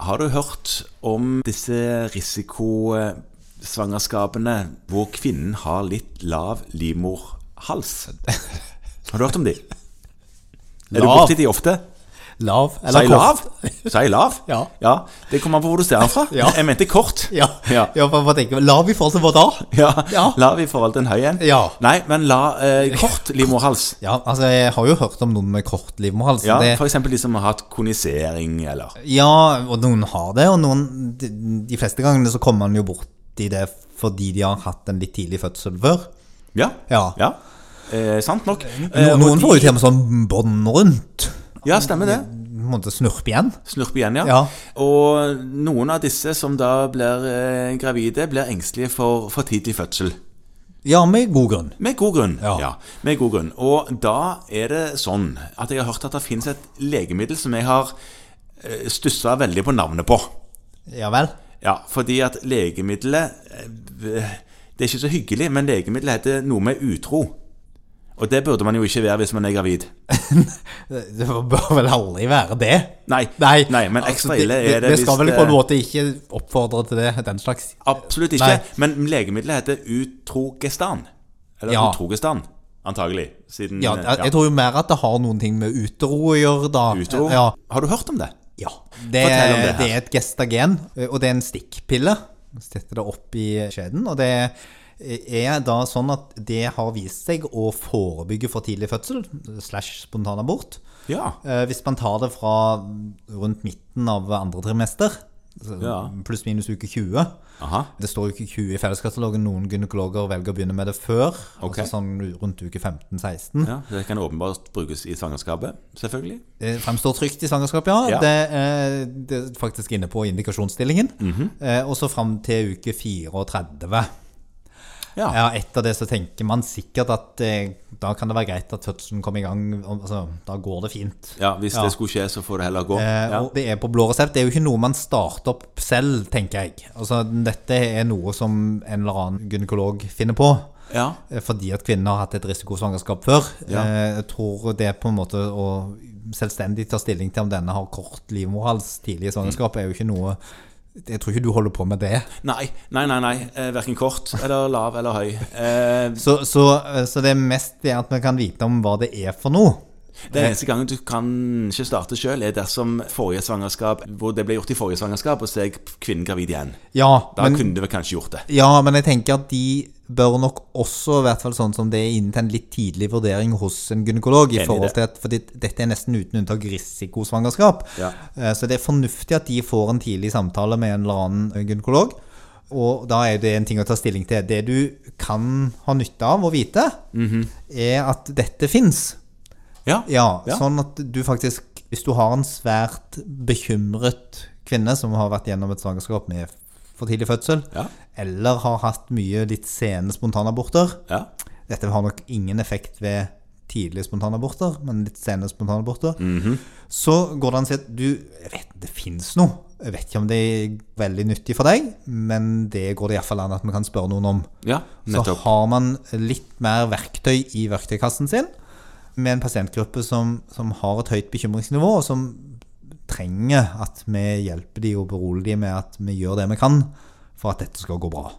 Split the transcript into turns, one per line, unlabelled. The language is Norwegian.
Har du hørt om disse risikosvangerskapene hvor kvinnen har litt lav livmorhals? Har du hørt om de? Er du
Lav?
borti de ofte?
Lav.
Sa jeg lav?
kort.
Sa jeg lav?
Ja.
Det kommer an på hvor du ser den fra.
Ja.
Jeg mente kort.
Ja,
Ja.
ja. for, for tenker, lav i forhold til hva da?
Ja.
Ja.
Lav i forhold til en høy en.
Ja.
Nei, men la eh, kort livmorhals.
Ja, altså jeg har jo hørt om noen med kort livmorhals.
Ja,
det-
F.eks. de som har hatt konisering, eller
ja, og noen har det, og noen, de, de fleste gangene så kommer man jo bort i det fordi de har hatt en litt tidlig fødsel før.
Ja.
Ja.
Eh, sant nok. Eh,
Noen,
og
noen
de-
får jo til og med sånn bånd rundt.
Ja, stemmer det.
På en måte snurpe igjen.
Snurp igjen, ja.
Ja.
Og noen av disse som da blir eh, gravide, blir engstelige for for tidlig fødsel.
Ja, med god grunn.
Med god grunn. Ja.
Ja.
med god grunn. Og da er det sånn at jeg har hørt at det finnes et legemiddel som jeg har stussa veldig på navnet på.
Ja vel.
Ja, fordi at legemiddelet eh, Det er ikke så hyggelig, men legemiddelet heter noe med utro. Og det burde man jo ikke være hvis man er gravid.
Det bør vel aldri være det.
Nei,
Nei,
men
altså,
ekstra ille
det,
er det,
Det skal
hvis
vel på en måte ikke oppfordre til det, den slags.
Absolutt ikke.
Nei.
Men legemiddelet heter utrogestan. Eller
Ja.
utrogestan, antagelig. Siden
Ja,
eh,
jeg, jeg tror jo mer at det har noen ting med utero å gjøre, da.
utro.
Ja.
Har du hørt om det?
ja. Det,
Fortell om det
det,
her.
er et gestagen, eh, og det er en stikkpille. Så setter det opp i skjeden, og det er da sånn at det har vist seg å forebygge for tidlig fødsel, slash spontanabort.
Ja.
Eh, Hvis man tar det fra rundt midten av andre trimester, så
Ja.
pluss minus uke 20,
Aha.
det står uke 20 i felleskatalogen. Noen gynekologer velger å begynne med det før.
Ok.
Altså sånn rundt uke 15-16.
Ja, det kan åpenbart brukes i svangerskapet, selvfølgelig.
Det fremstår trygt i svangerskap, ja.
Ja.
Det, eh, det er faktisk inne på indikasjonsstillingen. eh, og så fram til uke 34.
Ja.
Ja, etter det så tenker man sikkert at eh, da kan det være greit at fødselen kommer i gang. Altså, da går det fint.
Ja, Hvis
Ja.
det skulle skje, så får det heller gå.
Eh,
Ja.
og det er på blå resept. Det er jo ikke noe man starter opp selv, tenker jeg. Altså, dette er noe som en eller annen gynekolog finner på.
Ja.
Eh, Fordi at kvinner har hatt et risikosvangerskap før.
Ja.
Eh, Jeg tror det på en måte å selvstendig ta stilling til om denne har kort livmorhals tidlig i svangerskapet, er jo ikke noe Jeg tror ikke du holder på med det.
Nei, nei, nei. nei. Eh, Verken kort eller lav eller høy. Eh,
Så, så, eh, så det er mest det at vi kan vite om hva det er for noe.
Den
Eh.
eneste gangen du kan ikke starte sjøl, er dersom forrige svangerskap hvor det ble gjort i forrige svangerskap, og så er kvinnen gravid igjen.
Ja,
Da
men,
kunne du vel kanskje gjort det.
ja, men jeg tenker at de bør nok også, i hvert fall sånn som det er innen til en litt tidlig vurdering hos en gynekolog, i
Enig i det.
forhold til at, fordi dette er nesten uten unntak risikosvangerskap.
Ja.
Eh, Så det er fornuftig at de får en tidlig samtale med en eller annen eh, gynekolog. Og da er det en ting å ta stilling til. Det du kan ha nytte av å vite,
Mhm.
er at dette fins.
Ja.
Ja,
Ja.
Sånn at du faktisk, hvis du har en svært bekymret kvinne som har vært gjennom et svangerskap med for tidlig fødsel,
Ja.
eller har hatt mye litt sene spontanaborter
ja.
Dette har nok ingen effekt ved tidlige spontanaborter, men litt sene spontanaborter. Så går det an å si at du jeg vet det finnes noe. Jeg vet ikke om det er veldig nyttig for deg, men det går det iallfall an at vi kan spørre noen om.
ja
Så
nettopp.
har man litt mer verktøy i verktøykassen sin med en pasientgruppe som, som har et høyt bekymringsnivå, og som trenger at vi hjelper de og beroliger de med at vi gjør det vi kan for at dette skal gå bra.